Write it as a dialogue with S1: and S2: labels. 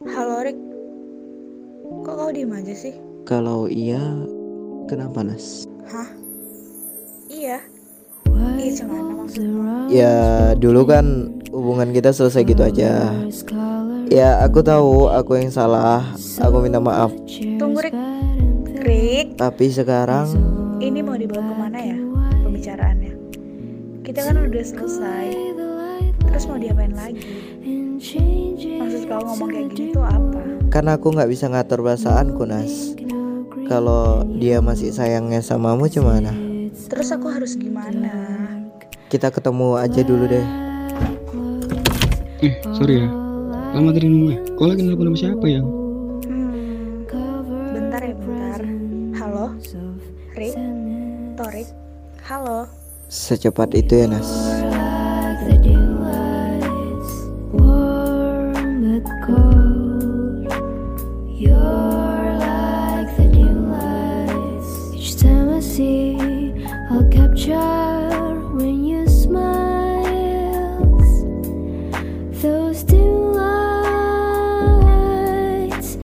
S1: Halo Rick, kok kau diem aja sih?
S2: Kalau iya, kenapa Nas?
S1: Hah? Iya,
S3: Iya,
S1: gimana
S2: Ya, dulu kan hubungan kita selesai gitu aja. Ya, aku tahu aku yang salah. Aku minta maaf.
S1: tunggu Rick. Rick,
S2: Tapi sekarang
S1: ini mau dibawa kemana ya pembicaraannya? Kita kan udah selesai, terus mau diapain lagi? Maksud kau ngomong kayak gini tuh apa?
S2: kan aku nggak bisa ngatur perasaanku Nas. Kalau dia masih sayangnya samamu gimana?
S1: Terus aku harus gimana?
S2: Kita ketemu aja dulu deh.
S4: Eh, sorry ya. Lama tadi nunggu ya. Kau lagi nelpon sama siapa ya?
S1: Hmm, bentar ya bentar. Halo, Rick, Torik, halo.
S2: Secepat itu ya Nas.
S3: I'll capture when you smile those days